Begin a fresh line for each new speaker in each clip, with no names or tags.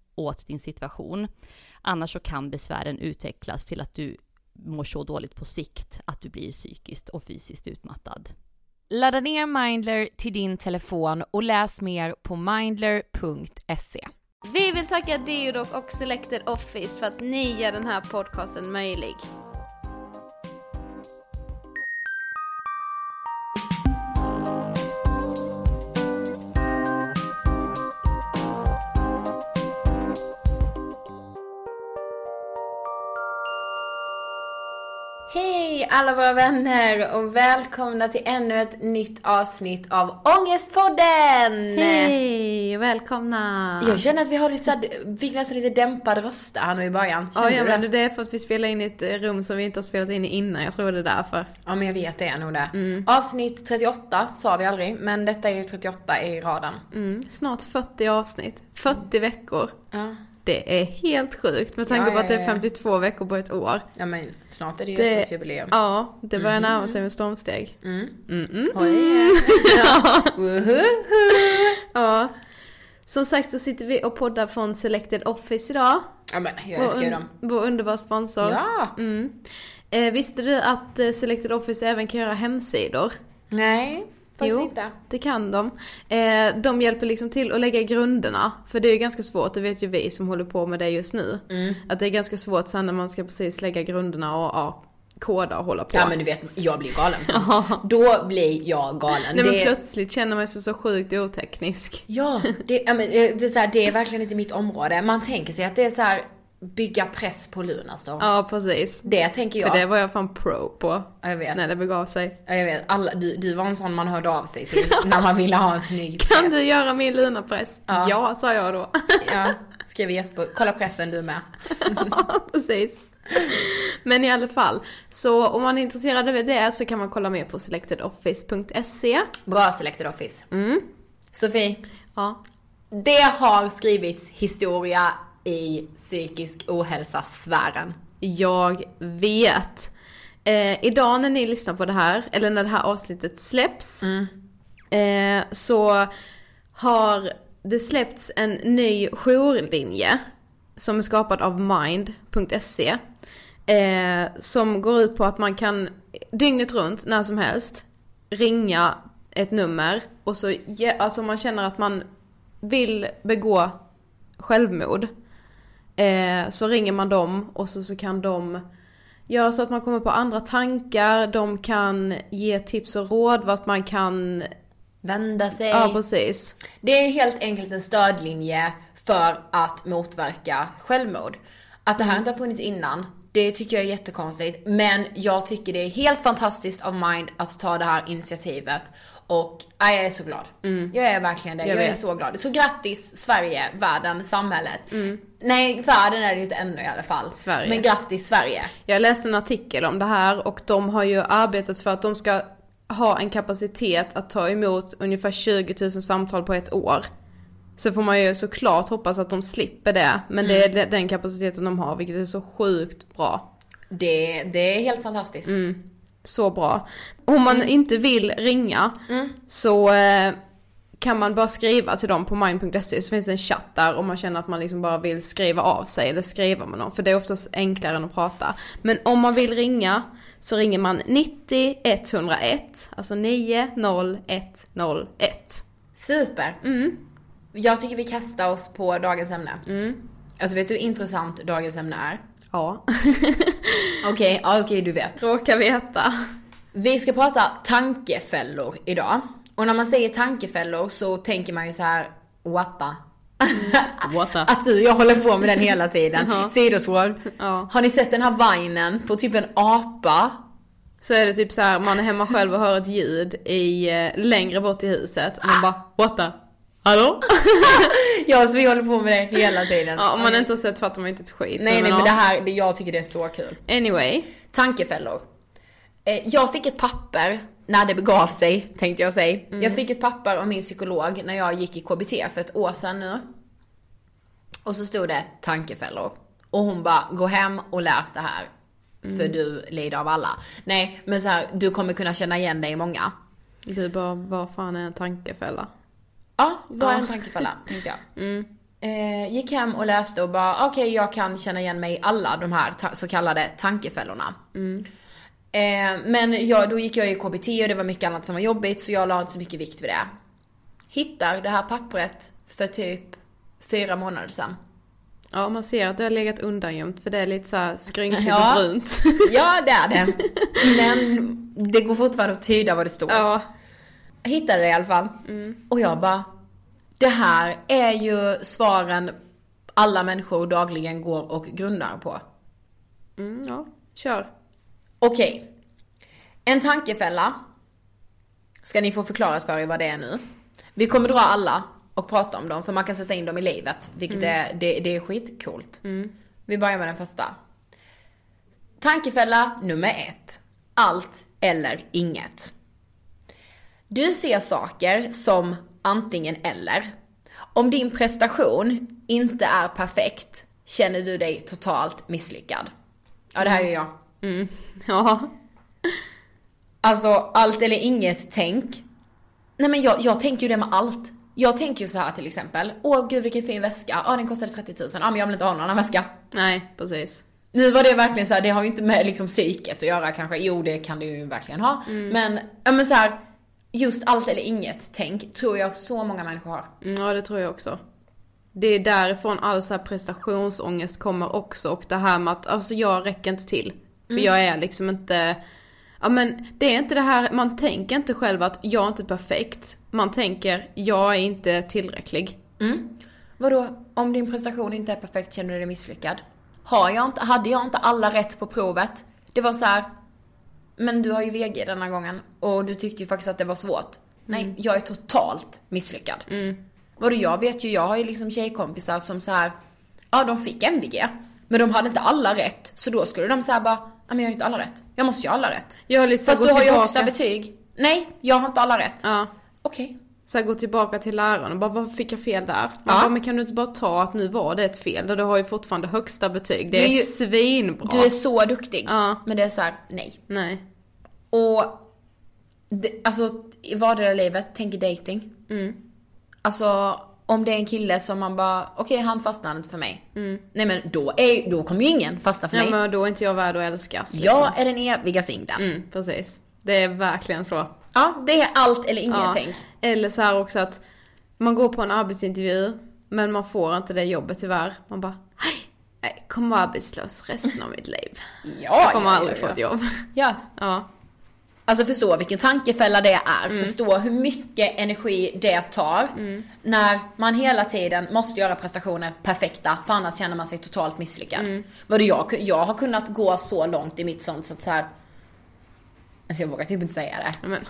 åt din situation. Annars så kan besvären utvecklas till att du mår så dåligt på sikt att du blir psykiskt och fysiskt utmattad.
Ladda ner Mindler till din telefon och läs mer på mindler.se.
Vi vill tacka Deodoc och Selected Office för att ni gör den här podcasten möjlig.
Hej alla våra vänner och välkomna till ännu ett nytt avsnitt av Ångestpodden!
Hej och välkomna!
Jag känner att vi har lite såhär, vi fick nästan lite dämpad röst här nu i början. Känner
Ja, jag
du det?
men det är för att vi spelar in i ett eh, rum som vi inte har spelat in i innan. Jag tror det är därför.
Ja men jag vet det är nog det.
Mm.
Avsnitt 38 sa vi aldrig, men detta är ju 38 i raden.
Mm. Snart 40 avsnitt. 40 veckor.
Ja.
Det är helt sjukt med tanke
Ja,
på att det
ja,
är
ja.
52 veckor på ett år.
ja men snart är det ju
Det-
ettårsjubileum.
Ja, det börjar närma sig med stormsteg.
Mm.
Mm.
Oj. Ja. Woho.
Ja. Som sagt så sitter vi och poddar från Selected Office idag.
ja men jag älskar ju dem.
Vår underbara sponsor.
Ja!
Mm. Eh, visste du att eh, Selected Office även kan göra hemsidor?
Nej, faktiskt
Jo.
inte.
Det kan de. Eh, de hjälper liksom till att lägga grunderna. För det är ju ganska svårt, det vet ju vi som håller på med det just nu.
Mm.
Att det är ganska svårt sen när man ska precis lägga grunderna och ja, koda och hålla på.
Ja men du vet, jag blir galen. Så. Då blir jag galen.
Nej men
Det-
plötsligt känner man sig så sjukt oteknisk.
Ja, det, ja, men, eh, det, är så här, det är verkligen inte mitt område. Man tänker sig att det är så här bygga press på Lunarstorm.
Ja precis.
Alltså. Det tänker jag.
För det var jag fan pro på.
Ja, jag vet.
När det begav sig.
Ja, jag vet. Alla, du, du var en sån man hörde av sig till när man ville ha en snygg
Kan
press.
du göra min lunapress?
Ja.
Ja. sa jag då.
Ja, skrev Jesper. Kolla pressen du med.
ja, precis. Men i alla fall, så om man är intresserad av det så kan man kolla mer på selectedoffice.se.
Bra Selected Office. Sofie,
Mm. Ja,
det har skrivits historia i psykisk ohälsa-sfären.
jag vet. Eh, idag när ni lyssnar på det här, eller när det här avsnittet släpps, eh, så har det släppts en ny jourlinje som är skapad av mind.se. Eh, som går ut på att man kan dygnet runt, när som helst, ringa ett nummer och så, ge, alltså om man känner att man vill begå självmord Eh, så ringer man dem och så, så kan de göra så att man kommer på andra tankar. De kan ge tips och råd vart man kan...
Vända sig.
Ja precis.
Det är helt enkelt en stödlinje för att motverka självmord. Att det här inte har funnits innan, det tycker jag är jättekonstigt. Men jag tycker det är helt fantastiskt av Mind att ta det här initiativet. Och aj, jag är så glad. Jag är verkligen det. Mm. Jag,
Jag
är
vet.
så glad. Så grattis Sverige, världen, samhället. Nej, världen är det ju inte ännu i alla fall.
Sverige.
Men grattis Sverige.
Jag läste en artikel om det här och de har ju arbetat för att de ska ha en kapacitet att ta emot ungefär 20 000 samtal på ett år. Så får man ju såklart hoppas att de slipper det. Men det är de-
Mm.
den kapaciteten de har vilket är så sjukt bra.
Det, det är helt fantastiskt.
så bra. Om
Mm.
man inte vill ringa så eh, kan man bara skriva till dem på mind.se så finns det en chatt där om man känner att man liksom bara vill skriva av sig eller skriva med någon för det är oftast enklare än att prata. Men om man vill ringa så ringer man 90 101, alltså 90101.
Super.
Mm.
Jag tycker vi kastar oss på dagens ämne. Alltså vet du hur intressant dagens ämne är?
Ja,
Okej, ja, okej du vet.
råkar veta.
Vi ska prata tankefällor idag. Och när man säger tankefällor så tänker man ju så här, what the?
What the?
Att du och jag håller på med den hela tiden. Sidospår.
Ja.
Har ni sett den här vinen på typ en apa?
Så är det typ så här, man är hemma själv och hör ett ljud i, eh, längre bort i huset och man bara what the? Hallå?
Ja, så vi håller på med det hela tiden.
Ja, om man inte har sett fattar man inte ett skit.
Nej, nej, men
ja.
det här, det, jag tycker det är så kul.
Anyway.
Tankefällor. Eh, Jag fick ett papper när det begav sig, tänkte jag säga.
Mm.
Jag fick ett papper av min psykolog när jag gick i KBT för ett år sedan nu. Och så stod det tankefällor. Och hon bara, gå hem och läs det här. För
Mm.
du lider av alla. Nej, men så här, du kommer kunna känna igen dig i många.
Du bara, vad fan är en tankefälla? Mm.
Ja, vad är en tankefälla, tänkte jag. Eh, gick hem och läste och bara okej jag kan känna igen mig i alla de här ta- så kallade tankefällorna. Eh, men jag, då gick jag i KBT och det var mycket annat som var jobbigt så jag la inte så mycket vikt vid det. Hittar det här pappret för typ fyra månader sedan.
Ja, man ser att det har legat undangömt för det är lite så här skrynkligt
Ja.
och brunt.
Ja det är det. Men det går fortfarande att tyda vad det står.
ja. Mm.
Jag hittade det i alla fall. Och jag bara, det här är ju svaren alla människor dagligen går och grundar på.
Mm, ja, kör.
Okej. En tankefälla. Ska ni få förklarat för er vad det är nu. Vi kommer dra alla och prata om dem för man kan sätta in dem i livet. Vilket
Mm.
är, det, det är skitcoolt. Vi börjar med den första. Tankefälla nummer ett. Allt eller inget. Du ser saker som antingen eller. Om din prestation inte är perfekt känner du dig totalt misslyckad. Ja, det här gör jag.
Mm. Ja.
Alltså allt eller inget tänk. Nej men jag, jag tänker ju det med allt. Jag tänker ju så här till exempel. Åh gud vilken fin väska. Ja den kostade 30 000. Ja men jag vill inte ha någon annan väska.
Nej, precis.
Nu var det verkligen så här, det har ju inte med liksom psyket att göra kanske. Jo det kan det ju verkligen ha.
Mm.
Men, ja men så här. Just allt eller inget tänk tror jag så många människor har.
Mm, Ja, det tror jag också. Det är därifrån all så här prestationsångest kommer också och det här med att alltså jag räcker inte till. För jag är liksom inte, ja men det är inte det här, man tänker inte själv att jag är inte perfekt. Man tänker, jag är inte tillräcklig.
Vadå, om din prestation inte är perfekt känner du dig misslyckad? Har jag inte, hade jag inte alla rätt på provet? Det var så här. men du har ju VG denna gången och du tyckte ju faktiskt att det var svårt.
Mm.
Nej, jag är totalt misslyckad. Vadå, jag vet ju, jag har ju liksom tjejkompisar som så här. ja de fick MVG, men de hade inte alla rätt. Så då skulle de säga bara, ja men jag har ju inte alla rätt. Jag måste ju ha alla rätt.
Jag har lite så här,
Fast
gå
du har ju
tillbaka.
högsta betyg. Nej, jag har inte alla rätt.
Ja.
Okej.
Så här, gå tillbaka till läraren och bara vad fick jag fel där? Man
Ja.
bara, men kan du inte bara ta att nu var det ett fel? Där du har ju fortfarande högsta betyg. Det
Du
är,
är ju-
svinbra.
Du är så duktig.
Ja.
Men det är så här, nej.
Nej.
Och det, alltså i vardera livet, tänk i dating. Alltså om det är en kille som man bara, okej han fastnar inte för mig. Mm. Nej men då, är, då kommer ju ingen fastna för
Ja,
mig.
men då är inte jag värd att älskas. liksom.
Jag är den eviga singeln.
Mm, precis. Det är verkligen så.
Ja, det är allt eller inget
Ja.
tänk.
Eller så här också att man går på en arbetsintervju men man får inte det jobbet tyvärr. Man bara "Hej, nej, kommer vara arbetslös resten av mitt liv.
Ja,
Jag kommer
ja,
aldrig
ja,
få
ja.
ett jobb.
Ja.
Ja,
Alltså förstå vilken tankefälla det är. Förstå hur mycket energi det tar.
Mm.
När man hela tiden måste göra prestationer perfekta för annars känner man sig totalt misslyckad. Vadå, jag, jag har kunnat gå så långt i mitt sånt så att så här. Alltså jag vågar typ inte säga det.
men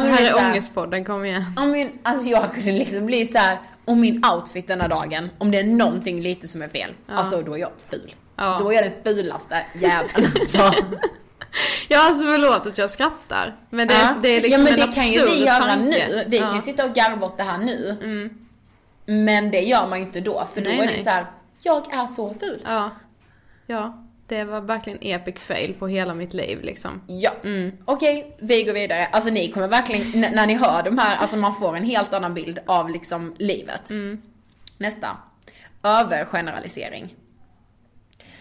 det
men du vet
här
Alltså, så
är ångestpodden, kom igen.
Ja, men, alltså jag kunde liksom bli så här. om min outfit denna dagen, om det är någonting lite som är fel. Alltså då är jag ful.
Ja.
Då är jag den fulaste jäveln alltså.
Ja, alltså förlåt att jag skrattar. Men det är,
Ja.
det är liksom
ja, men
en
det kan ju
absurd
vi göra
tanke.
nu. Vi kan
Ja. Mm.
ju sitta och garva åt det här nu. Men det gör man ju inte då, för då
Nej,
är
nej.
det så här. jag är så ful.
Ja. ja, det var verkligen epic fail på hela mitt liv liksom.
Ja, okej, vi går vidare. Alltså ni kommer verkligen, n- när ni hör de här, alltså man får en helt annan bild av liksom livet.
Mm.
Nästa. Övergeneralisering.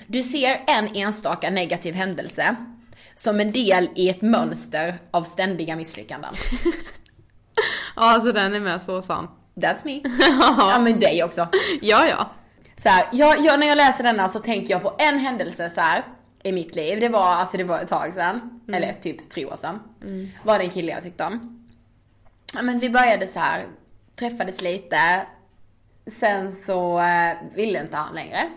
Du ser en enstaka negativ händelse som en del i ett mönster av ständiga misslyckanden.
Ja, alltså den är med så sann.
That's me. ja men dig också.
Ja, ja.
Så här, jag, jag, när jag läser denna så tänker jag på en händelse så här i mitt liv. Det var, alltså det var ett tag sedan.
Mm.
Eller typ tre år sedan. Var det en kille jag tyckte om. Ja, men vi började så här, träffades lite. Sen så eh, ville inte han längre.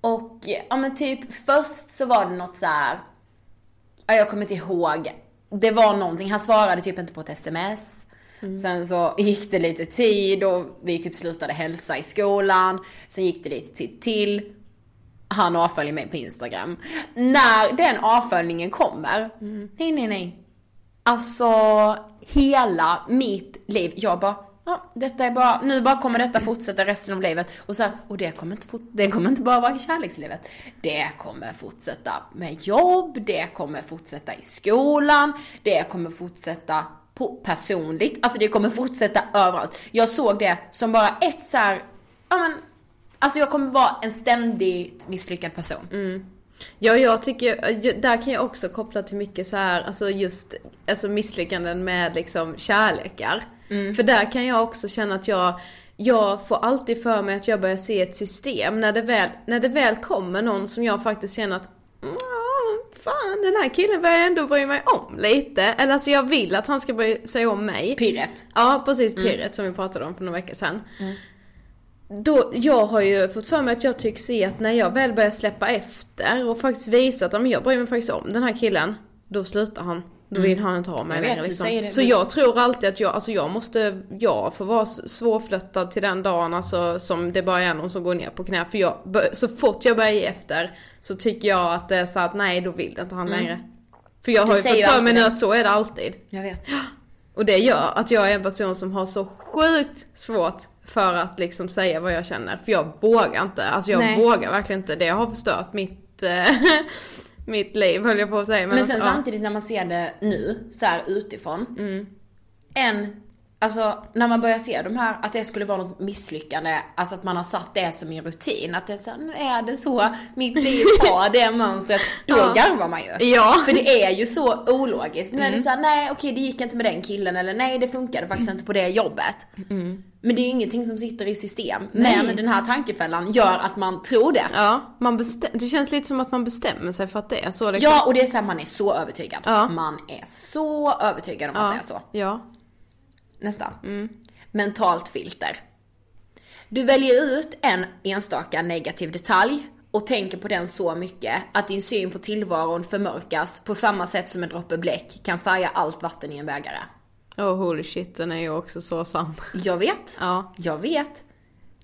Och ja men typ först så var det något så här. Ja, jag kommer inte ihåg. Det var någonting, han svarade typ inte på ett sms. Sen så gick det lite tid och vi typ slutade hälsa i skolan. Sen gick det lite tid till. Han avföljer mig på Instagram. När den avföljningen kommer. Nej, nej, nej. Mm. Alltså hela mitt liv. Jag bara, ja, detta är bara, nu bara kommer detta fortsätta resten av livet. Och så här, och det kommer inte, fort, det kommer inte bara vara i kärlekslivet. Det kommer fortsätta med jobb, det kommer fortsätta i skolan, det kommer fortsätta på personligt, alltså det kommer fortsätta överallt. Jag såg det som bara ett så här ja men, alltså jag kommer vara en ständigt misslyckad person.
Ja, jag tycker, ju- där kan jag också koppla till mycket så här, alltså just alltså misslyckanden med liksom kärlekar. För där kan jag också känna att jag, jag får alltid för mig att jag börjar se ett system när det väl, när det väl kommer någon som jag faktiskt känner att "Mm, ja, Fan, den här killen börjar jag ändå bry mig om lite. Eller alltså jag vill att han ska bry sig om mig.
Pirret.
Ja, precis. Pirret som vi pratade om för några veckor sedan. Då, jag har ju fått för mig att jag tycks se att när jag väl börjar släppa efter och faktiskt visa att ja, men jag bryr mig faktiskt om den här killen. Då slutar han. Då vill han inte ha mig
Mm. Jag vet,
längre,
du
liksom.
säger det.
Så jag tror alltid att jag, alltså jag måste, jag får vara s- svårflörtad till den dagen alltså, som det bara är någon som går ner på knä. För jag, bör- så fort jag börjar ge efter så tycker jag att det är så att nej då vill inte
Mm.
han längre. För jag
Du
har ju
säger
fått
ju
för mig
alltid
nu
det.
att så är det alltid.
Jag vet.
Och det gör att jag är en person som har så sjukt svårt för att liksom säga vad jag känner. För jag vågar inte. Alltså jag
Nej.
vågar verkligen inte. Det har förstört mitt, eh, mitt liv höll jag på att säga.
Men, sen
alltså, ja.
samtidigt när man ser det nu, så här utifrån. En, alltså när man börjar se de här, att det skulle vara något misslyckande, alltså att man har satt det som en rutin. Att det är så här, nu är det så, mitt liv har det mönstret. Då
Ja.
garvar man ju.
Ja. Mm.
För det är ju så ologiskt. När det är såhär, nej okej det gick inte med den killen eller nej det funkade faktiskt inte på det jobbet. Men det är ju ingenting som sitter i system. Men den här tankefällan gör att man tror det.
Ja, man bestäm- det känns lite som att man bestämmer sig för att det är så liksom.
Ja och det är såhär, man är så övertygad.
Ja.
Man är så övertygad om att det är så.
Ja.
Nästan. Mentalt filter. Du väljer ut en enstaka negativ detalj och tänker på den så mycket att din syn på tillvaron förmörkas på samma sätt som en droppe bläck kan färga allt vatten i en bägare.
Oh holy shit, den är ju också så sann.
Jag vet.
Ja.
Jag vet.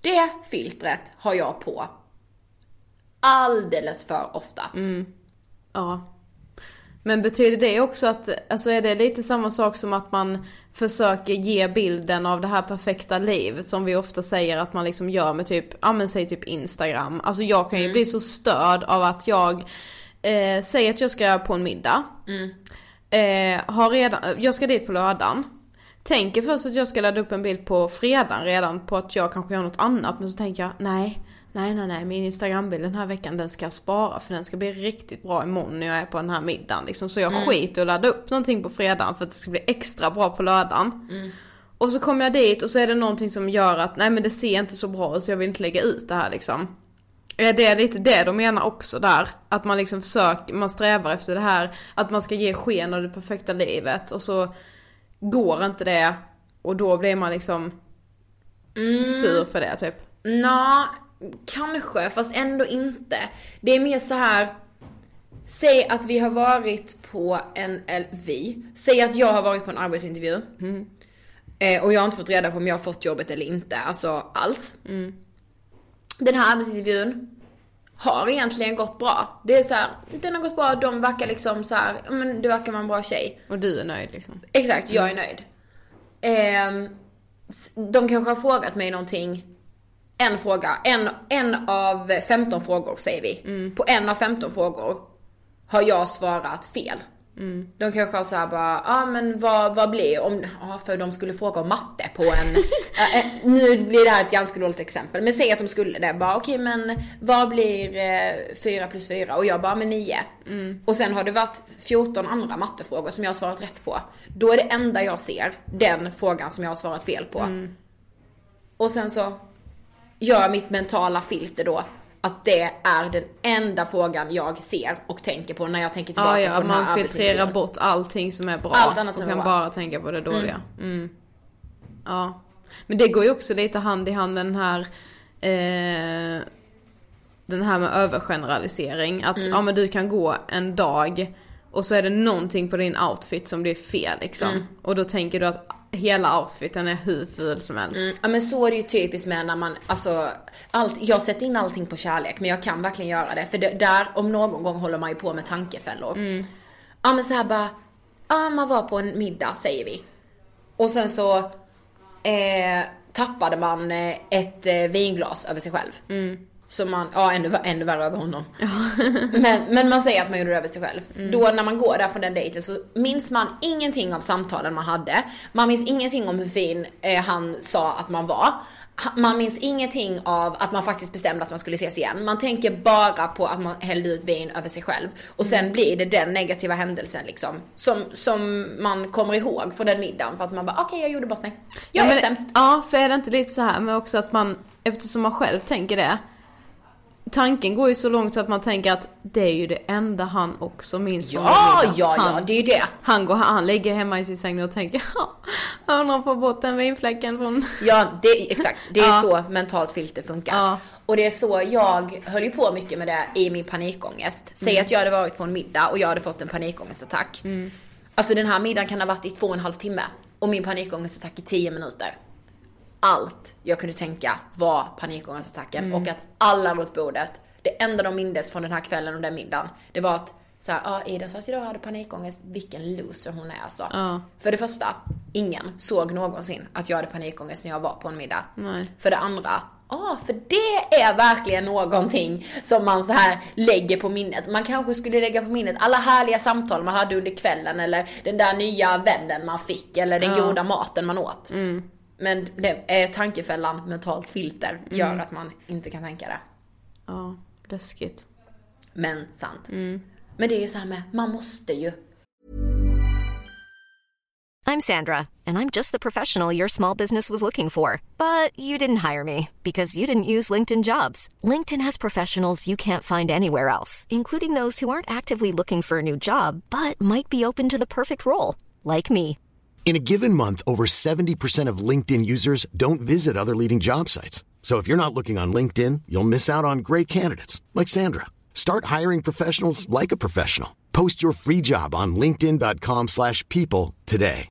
Det filtret har jag på alldeles för ofta.
Ja. Men betyder det också att, alltså är det lite samma sak som att man försöker ge bilden av det här perfekta livet som vi ofta säger att man liksom gör med typ, ja men säg typ Instagram. Alltså jag kan ju bli så störd av att jag, eh, säger att jag ska på en middag. Eh, har redan, jag ska dit på lördagen. Tänker först att jag ska ladda upp en bild på fredagen redan på att jag kanske gör något annat men så tänker jag nej, nej, nej, nej, min instagrambild den här veckan den ska jag spara för den ska bli riktigt bra imorgon när jag är på den här middagen liksom. Så jag skiter och laddar upp någonting på fredagen för att det ska bli extra bra på lördagen. Och så kommer jag dit och så är det någonting som gör att nej men det ser inte så bra ut så jag vill inte lägga ut det här liksom. Är det lite det de menar också där? Att man liksom försöker, man strävar efter det här, att man ska ge sken av det perfekta livet och så går inte det och då blir man liksom
Mm.
sur för det typ.
Nå, kanske, fast ändå inte. Det är mer så här. Säg att vi har varit på en, eller vi, säg att jag har varit på en arbetsintervju. Eh, och jag har inte fått reda på om jag har fått jobbet eller inte, alltså alls.
Mm.
Den här arbetsintervjun har egentligen gått bra. Det är så här, den har gått bra, de verkar liksom så här, "Ja, men du verkar vara en bra tjej.
Och du är nöjd liksom.
Exakt, jag är nöjd. Ehm, s- de kanske har frågat mig någonting. En fråga, en, en av 15 frågor säger vi.
Mm.
På en av 15 frågor har jag svarat fel. De kanske har såhär bara, ja ah, men vad, vad blir om, ja för de skulle fråga om matte på en, Ja, eh, nu blir det här ett ganska dåligt exempel, men säg att de skulle det, bara okej men vad blir eh, 4 plus 4? Och jag bara, men 9. Och sen har det varit 14 andra mattefrågor som jag har svarat rätt på. Då är det enda jag ser den frågan som jag har svarat fel på. Och sen så gör mitt mentala filter då att det är den enda frågan jag ser och tänker på när jag tänker
Ja,
tillbaka på
Ah, ja,
den här
man
arbetsintervjun.
filtrerar bort allting som är bra
Allt annat som
och
är
kan
bra.
bara tänka på det dåliga. Mm. Ja. Men det går ju också lite hand i hand med den här eh, den här med övergeneralisering.
Mm.
Att ja, men du kan gå en dag och så är det någonting på din outfit som blir fel liksom.
Mm.
Och då tänker du att hela outfiten är hur ful som helst.
Ja men så är det ju typiskt med när man, alltså, allt, jag sätter in allting på kärlek men jag kan verkligen göra det. För det, där, om någon gång håller man ju på med tankefällor.
Mm.
Ja men så här bara, ja man var på en middag säger vi. Och sen så
Mm.
eh, tappade man eh, ett eh, vinglas över sig själv. Så man, ja ännu, vär- ännu värre över honom. men, men man säger att man gjorde det över sig själv. Då när man går där från den dejten så minns man ingenting av samtalen man hade. Man minns ingenting om hur fin eh, han sa att man var. Ha- Man minns ingenting av att man faktiskt bestämde att man skulle ses igen. Man tänker bara på att man hällde ut vin över sig själv. Och sen blir det den negativa händelsen liksom. Som, som man kommer ihåg från den middagen. För att man bara, okej jag gjorde bort mig. Jag är
men,
sämst.
Ja, för är det inte lite så här men också att man, eftersom man själv tänker det. Tanken går ju så långt så att man tänker att det är ju det enda han också minns från
Ja,
den
ja,
middagen.
ja,
han,
det är ju det.
han går, han ligger hemma i sin säng nu och tänker ja, jag undrar om jag får bort den vinfläcken från...
Ja, det, exakt. Det är
Ja.
så mentalt filter funkar.
Ja.
Och det är så jag höll ju på mycket med det i min panikångest. Säg
Mm.
att jag hade varit på en middag och jag hade fått en panikångestattack. Alltså den här middagen kan ha varit i två och en halv timme. Och min panikångestattack i tio minuter. Allt jag kunde tänka var panikångestattacken
Mm.
och att alla runt bordet, det enda de mindes från den här kvällen och den middagen, det var att så här, ah, Ida satt idag och hade panikångest, vilken loser hon är alltså.
Ja.
För det första, ingen såg någonsin att jag hade panikångest när jag var på en middag.
Nej.
För det andra, ja för det är verkligen någonting som man så här lägger på minnet. Man kanske skulle lägga på minnet alla härliga samtal man hade under kvällen eller den där nya vännen man fick eller den goda maten man åt. Men det är tankefällan, mentalt filter,
Mm.
gör att man inte kan tänka det.
Ja, läskigt.
Men sant.
Mm.
Men det är ju så här med, man måste ju.
I'm Sandra, and I'm just the professional your small business was looking for. But you didn't hire me because you didn't use LinkedIn jobs. LinkedIn has professionals you can't find anywhere else, including those who aren't actively looking for a new job but might be open to the perfect role, like me.
In a given month, over 70% of LinkedIn users don't visit other leading job sites. So if you're not looking on LinkedIn, you'll miss out on great candidates like Sandra. Start hiring professionals like a professional. Post your free job on linkedin.com/people slash people today.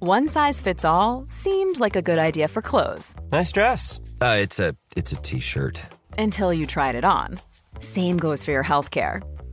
One size fits all seemed like a good idea for clothes
Nice dress. Uh, it's a it's a t-shirt.
until you tried it on. Same goes for your healthcare.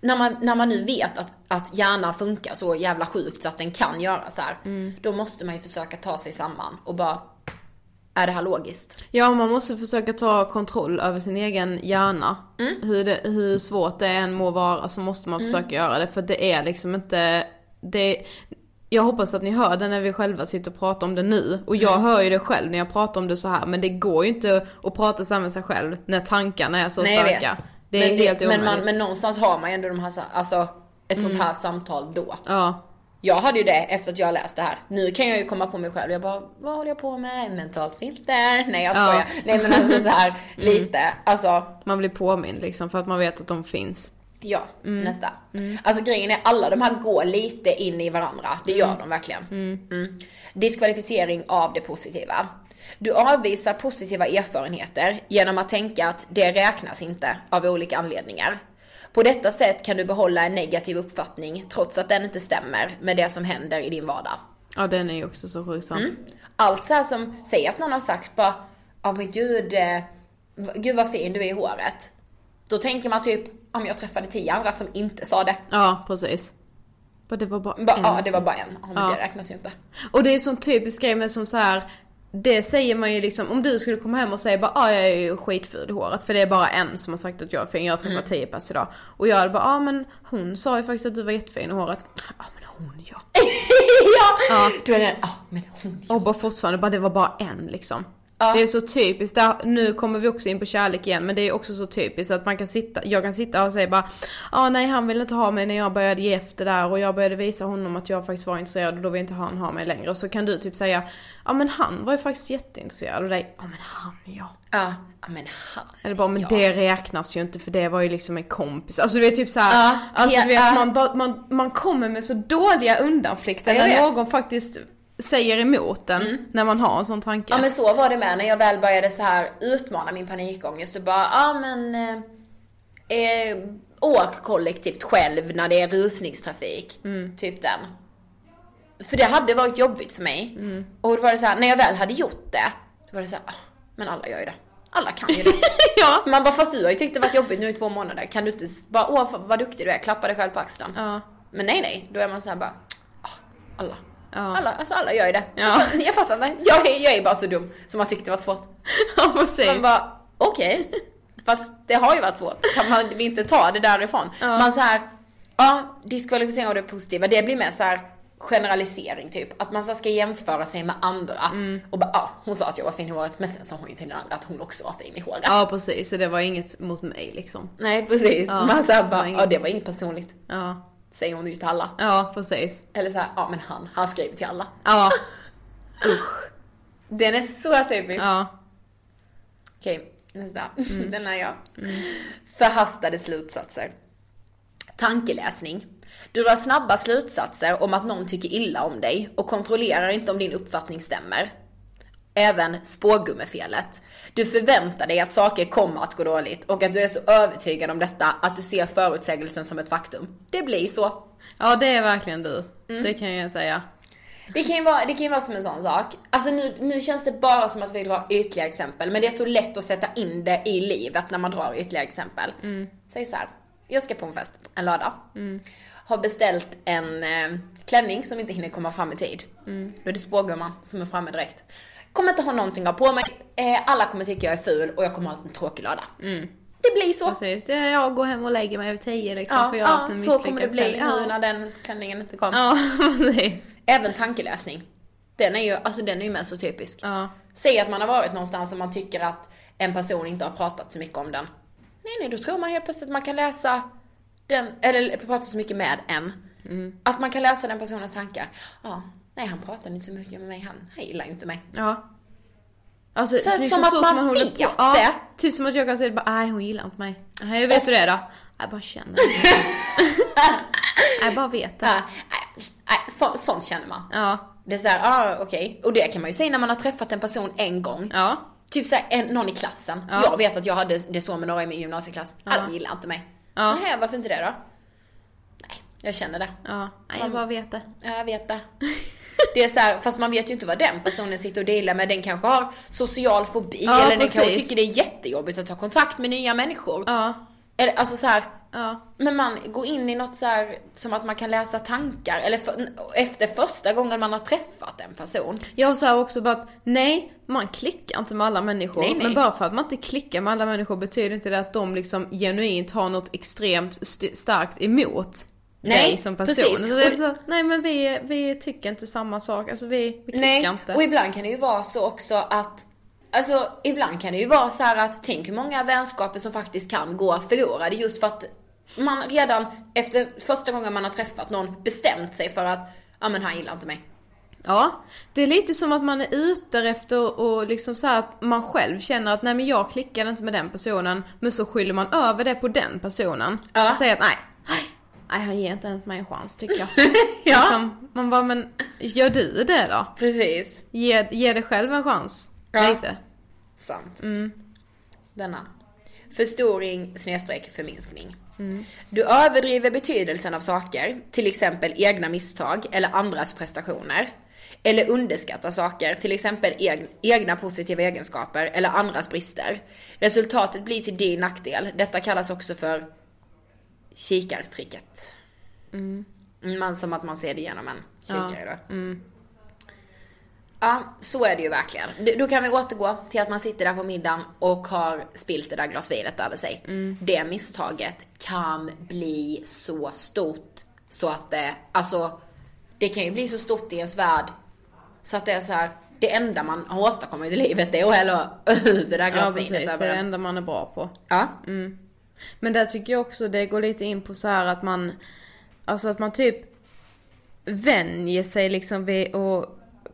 När man, när man nu vet att, att hjärnan funkar så jävla sjukt så att den kan göra så här.
Mm.
Då måste man ju försöka ta sig samman och bara, är det här logiskt?
Ja, man måste försöka ta kontroll över sin egen hjärna.
Mm.
Hur, det, hur svårt det än må vara så måste man försöka göra det. För det är liksom inte... Det, jag hoppas att ni hör det när vi själva sitter och pratar om det nu. Och jag
Mm.
hör ju det själv när jag pratar om det så här. Men det går ju inte att prata så här med sig själv när tankarna är så starka. Det är
men,
helt
det, men,
omöjligt. Mm.
man, men någonstans har man ju ändå de här, sa- alltså, ett sånt här samtal då.
Ja.
Jag hade ju det efter att jag läst det här. Nu kan jag ju komma på mig själv. Jag bara, vad håller jag på med? Mentalt filter? Nej jag
Ja.
skojar. Nej men alltså så här lite. Alltså
Man blir påmind liksom för att man vet att de finns.
ja, nästa. Alltså grejen är alla de här går lite in i varandra. Det gör de verkligen. Mm. Diskvalificering av det positiva. Du avvisar positiva erfarenheter genom att tänka att det räknas inte av olika anledningar. På detta sätt kan du behålla en negativ uppfattning trots att den inte stämmer med det som händer i din vardag.
Ja, den är ju också så sjuk sann.
Mm. Allt så här som, säg att någon har sagt bara, ja men gud, eh, v- gud vad fin du är i håret. Då tänker man typ, ja men jag träffade tio andra som inte sa det.
Ja, precis. Bara, Det var bara
Bara,
en
ja det
som-
var bara en, ja men
Mm, Ja.
det räknas ju inte.
Och det är en sån typisk grej men som så här. Det säger man ju liksom, om du skulle komma hem och säga bara ah, jag är ju skitful i håret för det är bara en som har sagt att jag är fin, jag har träffat tio pers idag. Och jag hade bara ah, men hon sa ju faktiskt att du var jättefin i håret. ah, men hon ja.
ja! Du är den, ja men hon.
Och bara fortfarande bara det var bara en liksom. Det är så typiskt, där, nu kommer vi också in på kärlek igen men det är också så typiskt att man kan sitta, jag kan sitta och säga bara ah, nej han ville inte ha mig när jag började ge efter där och jag började visa honom att jag faktiskt var intresserad och då vill inte han ha mig längre. Och så kan du typ säga ja ah, men han var ju faktiskt jätteintresserad och dig, ja ah, men han ja.
Ja, ah, men han.
Eller bara men det räknas ju inte för det var ju liksom en kompis. Alltså du vet typ såhär, alltså, du vet, man, bara- man, man kommer med så dåliga undanflykter
Ja, jag
när
vet. Mm.
någon faktiskt säger emot den när man har en sån tanke.
Ja men så var det med när jag väl började så här utmana min panikångest och bara, ja ah, men eh, eh, åk kollektivt själv när det är rusningstrafik.
Mm.
Typ den. För det hade varit jobbigt för mig.
Mm.
Och då var det så här, när jag väl hade gjort det, då var det så här, "Ah, men alla gör ju det. Alla kan ju det.
ja.
Man bara, fast du har ju tyckt det varit jobbigt nu i två månader, kan du inte s- bara, åh f- vad duktig du är, klappa dig själv på axeln.
Ja.
Men nej nej, då är man så här bara, "Ah, alla.
Ja.
Alla, alltså alla gör ju det.
Ja.
Jag fattar inte. Jag, är- jag är bara så dum som har tyckt det var svårt.
Ja, precis.
Man bara, okej. Fast det har ju varit svårt. Kan man vi inte ta det därifrån?
Ja.
Man så här, ja, diskvalificering av det positiva, det blir mer så här generalisering typ. Att man så här ska jämföra sig med andra.
Mm.
Och bara, ja, hon sa att jag var fin i håret, men sen sa hon ju till den andra att hon också var fin i håret.
Ja precis, så det var inget mot mig liksom.
Nej precis.
Ja,
Man såhär
det var
bara,
inget.
ja det var inget personligt.
Ja,
Säger hon ju till alla.
ja precis.
Eller såhär, ja men han, han skrev till alla.
Ja,
Den är så typisk.
ja. Mm.
Okej, nästa. Den är jag. Förhastade slutsatser. Tankeläsning. Du drar snabba slutsatser om att någon tycker illa om dig och kontrollerar inte om din uppfattning stämmer. Även spårgummefelet. Du förväntar dig att saker kommer att gå dåligt och att du är så övertygad om detta att du ser förutsägelsen som ett faktum. Det blir så.
Ja det är verkligen du.
Mm.
Det kan jag säga.
Det kan ju vara, det kan ju vara som en sån sak. Alltså nu, nu känns det bara som att vi drar ytliga exempel, men det är så lätt att sätta in det i livet när man drar ytliga exempel.
Mm.
Säg så här. jag ska på en fest en lördag. Har beställt en eh, klänning som inte hinner komma fram i tid.
Mm.
Då är det spågumman som är framme direkt. Kommer inte ha någonting att ha på mig, eh, alla kommer tycka jag är ful och jag kommer ha en tråkig lördag.
Mm.
Det blir så.
Precis, det är jag går hem och lägger mig vid tio liksom
Ja,
för jag har haft
ja,
en
så kommer det
misslyckad
bli
kväll.
nu
Ja.
när den klänningen inte kom.
ja precis.
Även tankeläsning. Den är ju, alltså den är ju med så typisk.
Ja.
Säg att man har varit någonstans och man tycker att en person inte har pratat så mycket om den. Nej, nej, då tror man helt plötsligt att man kan läsa den, eller prata så mycket med en.
Mm.
Att man kan läsa den personens tankar. Ja, nej han pratade inte så mycket med mig, han, han gillar ju inte mig.
Ja. Alltså,
Så här,
liksom
som att man
hon håller
vet
på.
det.
Ja, typ som att jag kan säga bara, nej hon gillar inte mig. Nej, hur vet du det då? Jag bara känner det. Jag bara vet
Ja,
det.
nej, nej, så, sånt känner man.
Ja.
Det är såhär, ja ah, okej. Och det kan man ju säga när man har träffat en person en gång.
Ja.
Typ såhär, en, någon i klassen.
Ja.
Jag vet att jag hade det så med några i min gymnasieklass. Alla gillar inte mig.
Ja.
Så här, varför inte det då? Nej, jag känner det.
Ja. Nej, jag bara vet det.
Ja, jag vet det. Det är så här, fast man vet ju inte vad den personen sitter och delar med. Den kanske har social fobi
Ja,
eller
precis.
den kanske tycker det är jättejobbigt att ta kontakt med nya människor.
Ja.
Eller, alltså så här,
Ja.
men man går in i något så här som att man kan läsa tankar. Eller för, efter första gången man har träffat en person.
Jag sa också bara att nej, man klickar inte med alla människor.
Nej, nej.
Men bara för att man inte klickar med alla människor betyder inte det att de liksom genuint har något extremt st- starkt emot
Nej,
dig som person.
precis.
Så det är
Och-
så, här, nej men vi, vi tycker inte samma sak, alltså vi, vi klickar
Nej,
inte.
och ibland kan det ju vara så också att Alltså ibland kan det ju vara så här att tänk hur många vänskaper som faktiskt kan gå förlorade just för att man redan efter första gången man har träffat någon bestämt sig för att ja men han gillar inte mig.
Ja, det är lite som att man är ute efter och liksom så här att man själv känner att nej men jag klickade inte med den personen men så skyller man över det på den personen.
Ja.
Och säger att nej, nej, nej han ger inte ens mig en chans tycker jag. liksom, man bara men gör du det då?
Precis.
Ge, ge dig själv en chans.
Ja.
Lite.
Sant. Mm. Denna. Förstoring snedstreck förminskning. Du överdriver betydelsen av saker, till exempel egna misstag eller andras prestationer. Eller underskattar saker, till exempel eg- egna positiva egenskaper eller andras brister. Resultatet blir till din nackdel. Detta kallas också för kikartricket.
Mm.
Man, som att man ser det genom en kikare då. Ja, så är det ju verkligen. D- Då kan vi återgå till att man sitter där på middagen och har spilt det där glasvinet över sig.
Mm.
Det misstaget kan bli så stort så att det, alltså, det kan ju bli så stort i ens värld så att det är så här. Det enda man har åstadkommit i livet är att hälla ut det där
Ja
glasvinet
precis, det är
över
det
den.
enda man är bra på.
Ja.
Mm. Men där tycker jag också det går lite in på så här att man, alltså att man typ vänjer sig liksom vid att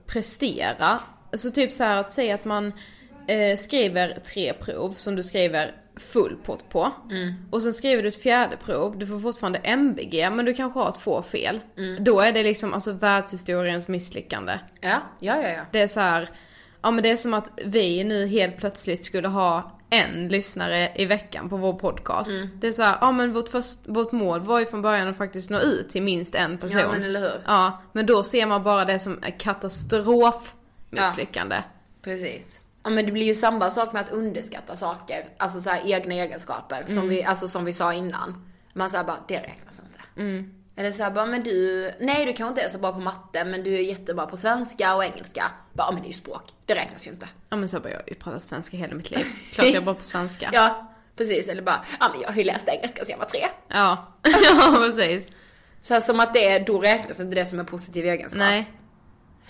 prestera. Alltså typ så här att säga att man eh, skriver tre prov som du skriver full pott på. Och sen skriver du ett fjärde prov, du får fortfarande MVG men du kanske har två fel. Då är det liksom alltså världshistoriens misslyckande.
Ja, ja, ja, ja.
Det är så här, ja men det är som att vi nu helt plötsligt skulle ha en lyssnare i veckan på vår podcast.
Mm.
Det är så här, ja men vårt, först, vårt mål var ju från början att faktiskt nå ut till minst en person.
Ja, men eller hur?
Ja, men då ser man bara det som ett katastrofmisslyckande.
Precis. Ja men det blir ju samma sak med att underskatta saker. Alltså så här egna egenskaper. Som,
Mm.
vi, alltså, som vi sa innan. Man säger bara, det räknas inte.
Mm.
Eller så här, bara, men du, nej du kanske inte är så bra på matte men du är jättebra på svenska och engelska. Bara, "Ja, men det är ju språk, det räknas ju inte.
Ja men så bara jag har ju pratat svenska hela mitt liv. Klart jag är bra på svenska.
Ja, precis. Eller bara, ja men jag har ju läst engelska sedan jag var tre.
Ja, ja precis.
Så här, som att det är, då räknas inte det som en positiv egenskap.
Nej.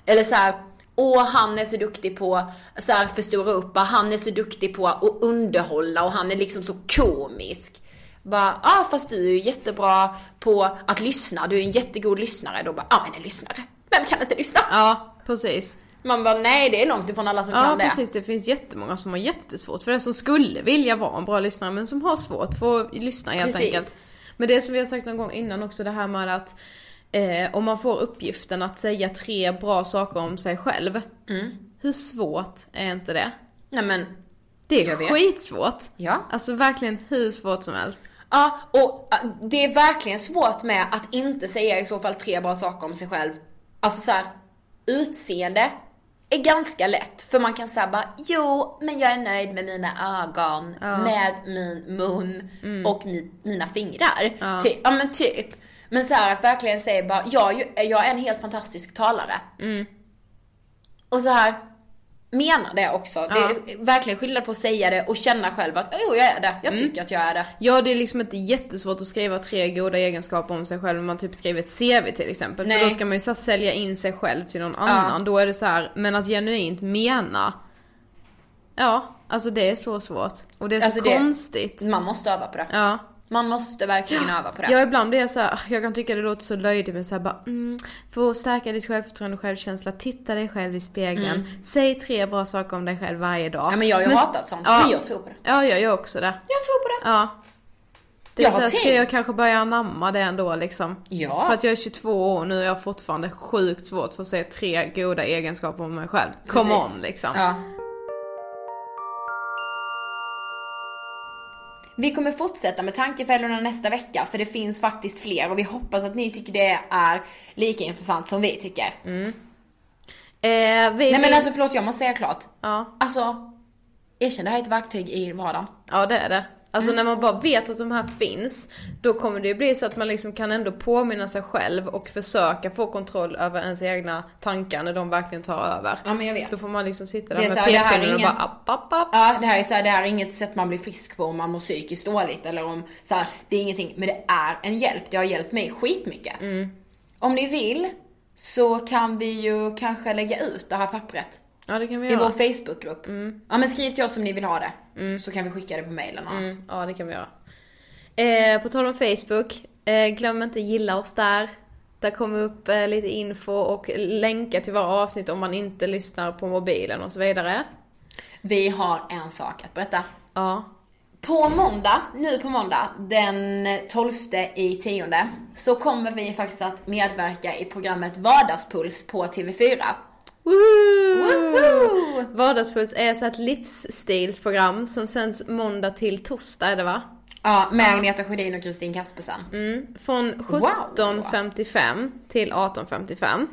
Eller så här, åh han är så duktig på, så här förstora upp, bara, han är så duktig på att underhålla och han är liksom så komisk. Bara, ja ah, fast du är ju jättebra på att lyssna, du är en jättegod lyssnare. Då bara, ja ah, men en lyssnare, vem kan inte lyssna?
Ja, precis.
Man bara, nej det är långt ifrån alla som
Ja
kan det.
precis, det finns jättemånga som har jättesvårt för det, som skulle vilja vara en bra lyssnare men som har svårt för att lyssna helt
Precis.
enkelt. Men det som vi har sagt någon gång innan också det här med att eh, om man får uppgiften att säga tre bra saker om sig själv.
Mm.
Hur svårt är inte det?
Nej men,
Det är
Jag vet.
skitsvårt.
ja.
Alltså verkligen hur svårt som helst.
Ja, och äh, det är verkligen svårt med att inte säga i så fall tre bra saker om sig själv. Alltså så här, utseende är ganska lätt. För man kan säga bara, jo, men jag är nöjd med mina ögon,
Ja. Mm.
med min mun och mi, mina fingrar.
Ja.
Typ, ja men typ. Men så här att verkligen säga bara, jag, är ju- jag är en helt fantastisk talare.
Mm.
Och så här menar det också.
Ja.
Det är verkligen skillnad på att säga det och känna själv att, jo jag är det, jag
Mm.
tycker att jag är det.
Ja det är liksom inte jättesvårt att skriva tre goda egenskaper om sig själv om man typ skriver ett CV till exempel.
Nej.
För då ska man ju så här, sälja in sig själv till någon annan. Då är det så här, men att genuint mena. Ja, alltså det är så svårt. Och det är
Alltså,
så
det-
konstigt.
Man måste öva på det.
Ja.
Man måste verkligen öva på det.
Ja ibland är jag så här, jag kan tycka det låter så löjligt men såhär bara mm, För att stärka ditt självförtroende och självkänsla, titta dig själv i spegeln. Säg tre bra saker om dig själv varje dag.
Mm. Ja, men jag har ju
s-
hatat sånt,
ja.
men jag tror på det.
Ja jag gör också det.
Jag tror på det.
Ja. Det är
Jag
så
har
här, ska
tänkt.
jag kanske börja anamma det ändå liksom?
Ja.
För att jag är 22 år nu och jag har fortfarande sjukt svårt för att se tre goda egenskaper om mig själv. Come
Precis.
on liksom.
Ja. Vi kommer fortsätta med tankefällorna nästa vecka för det finns faktiskt fler och vi hoppas att ni tycker det är lika intressant som vi tycker.
Mm. Eh, vi,
Nej men alltså förlåt jag måste säga klart.
Ja,
Alltså, erkänn det här är ett verktyg i vardagen.
ja det är det.
Mm.
Alltså när man bara vet att de här finns, då kommer det ju bli så att man liksom kan ändå påminna sig själv och försöka få kontroll över ens egna tankar när de verkligen tar över.
Ja men jag vet.
Då får man liksom sitta
Det
där
är
med
så här, det här är
pekpinnen och
ingen-
bara app, app, app.
Ja, det här är så här, det här är inget sätt man blir frisk på om man mår psykiskt dåligt eller om så här, det är ingenting. Men det är en hjälp, det har hjälpt mig skitmycket. Mm. Om ni vill så kan vi ju kanske lägga ut det här pappret
Ja Mm. det kan vi
i vår
göra.
Facebookgrupp. Ja men skriv till oss om ni vill ha det. Så kan vi skicka det på mailen annars.
Mm, ja det kan vi göra. Eh, på tal om Facebook, eh, glöm inte gilla oss där. Där kommer upp eh, lite info och länkar till våra avsnitt om man inte lyssnar på mobilen och så vidare.
Vi har en sak att berätta.
Ja.
På måndag, nu på måndag, den 12 i tionde, så kommer vi faktiskt att medverka i programmet Vardagspuls på TV4. Woho!
Vardagspuls är så ett livsstilsprogram som sänds måndag till torsdag är det va?
Ja, med Agneta Sjödin och Kristin Kaspersen.
Mm. Från
Wow.
17.55 till 18.55.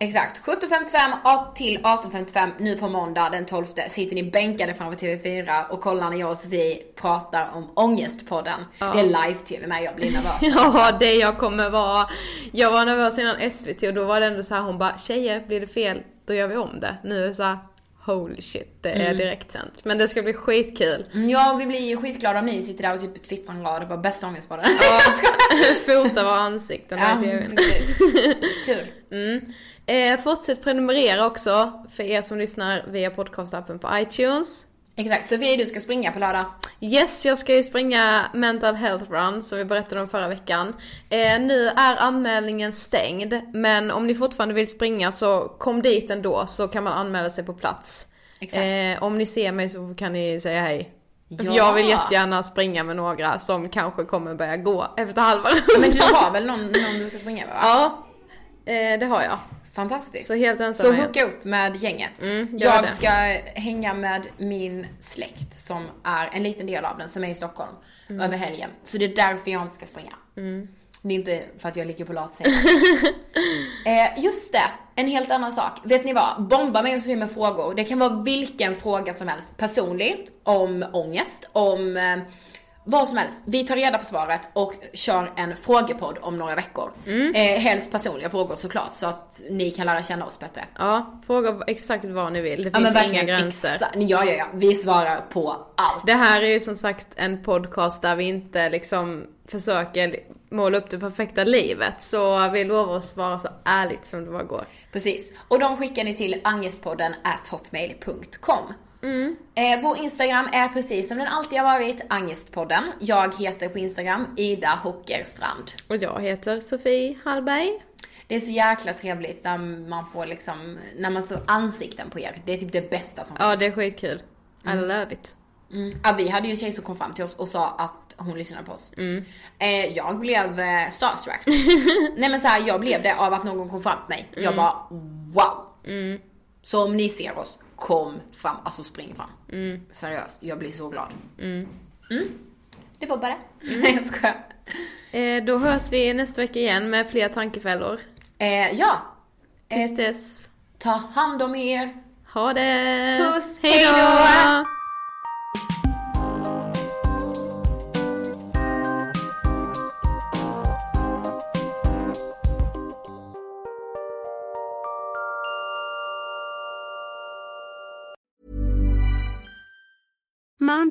Exakt. 17.55 a- till 18.55 nu på måndag den 12 sitter ni bänkade framför TV4 och kollar när jag och Sofie pratar om Ångestpodden. Det är live-tv med, jag blir nervös.
Ja, det jag kommer vara. Jag var nervös innan SVT och då var det ändå så här hon bara tjejer, blir det fel då gör vi om det. Nu är det så här, holy shit, det är
Mm.
direkt sent. Men det ska bli skitkul.
Mm, Ja, vi blir ju skitglada om ni sitter där och typ twittrar en glad och bara bästa ångestpodden.
Fota våra ansikten
Ja,
där i TVn.
Kul.
Mm. Eh, fortsätt prenumerera också för er som lyssnar via podcastappen på iTunes.
Exakt, Sofia du ska springa på lördag.
Yes, jag ska ju springa mental health run som vi berättade om förra veckan. Eh, nu är anmälningen stängd men om ni fortfarande vill springa så kom dit ändå så kan man anmäla sig på plats.
Exakt.
Eh, om ni ser mig så kan ni säga hej. För
Ja.
Jag vill jättegärna springa med några som kanske kommer börja gå efter halva
Men du har väl någon, någon du ska springa med va?
Ja, eh, det har jag.
Fantastiskt.
Så helt ensam
Så
är jag.
hooka upp med gänget.
Mm, gör
jag
det.
ska hänga med min släkt som är en liten del av den som är i Stockholm
Mm.
över helgen. Så det är därför jag inte ska springa.
Mm.
Det är inte för att jag ligger på latsidan. eh, just det, en helt annan sak. Vet ni vad? Bomba mig och Sofie med frågor. Det kan vara vilken fråga som helst. Personlig, om ångest, om eh, vad som helst. Vi tar reda på svaret och kör en frågepodd om några veckor.
Mm.
Eh, helst personliga frågor såklart, så att ni kan lära känna oss bättre.
Ja, fråga exakt vad ni vill. Det
Ja,
finns
men
inga
verkligen,
gränser.
exa- ja, ja, ja. Vi svarar på allt.
Det här är ju som sagt en podcast där vi inte liksom försöker måla upp det perfekta livet. Så vi lovar att svara så ärligt som det bara går.
Precis. Och de skickar ni till angestpodden at hotmail.com.
Mm.
Eh, vår Instagram är precis som den alltid har varit, Angestpodden. Jag heter på Instagram Ida Hockerstrand.
Och jag heter Sofie Hallberg.
Det är så jäkla trevligt när man får liksom, när man får ansikten på er. Det är typ det bästa som
Ja,
finns.
det är skitkul. I
Mm.
love it.
Mm. Ja, vi hade ju en tjej som kom fram till oss och sa att hon lyssnade på oss.
Mm.
Eh, jag blev eh, starstruck. Nej men så här, jag blev det av att någon kom fram till mig. Jag
Mm.
bara wow. Så om ni ser oss, kom fram. Alltså spring fram.
Mm.
Seriöst, jag blir så glad.
Mm.
Det var bara det. Nej jag skojar.
Eh, då hörs vi nästa vecka igen med fler tankefällor.
Eh, ja.
Tills
Eh,
dess.
Ta hand om er.
Ha det!
Puss,
Hej då!
hejdå!
Mom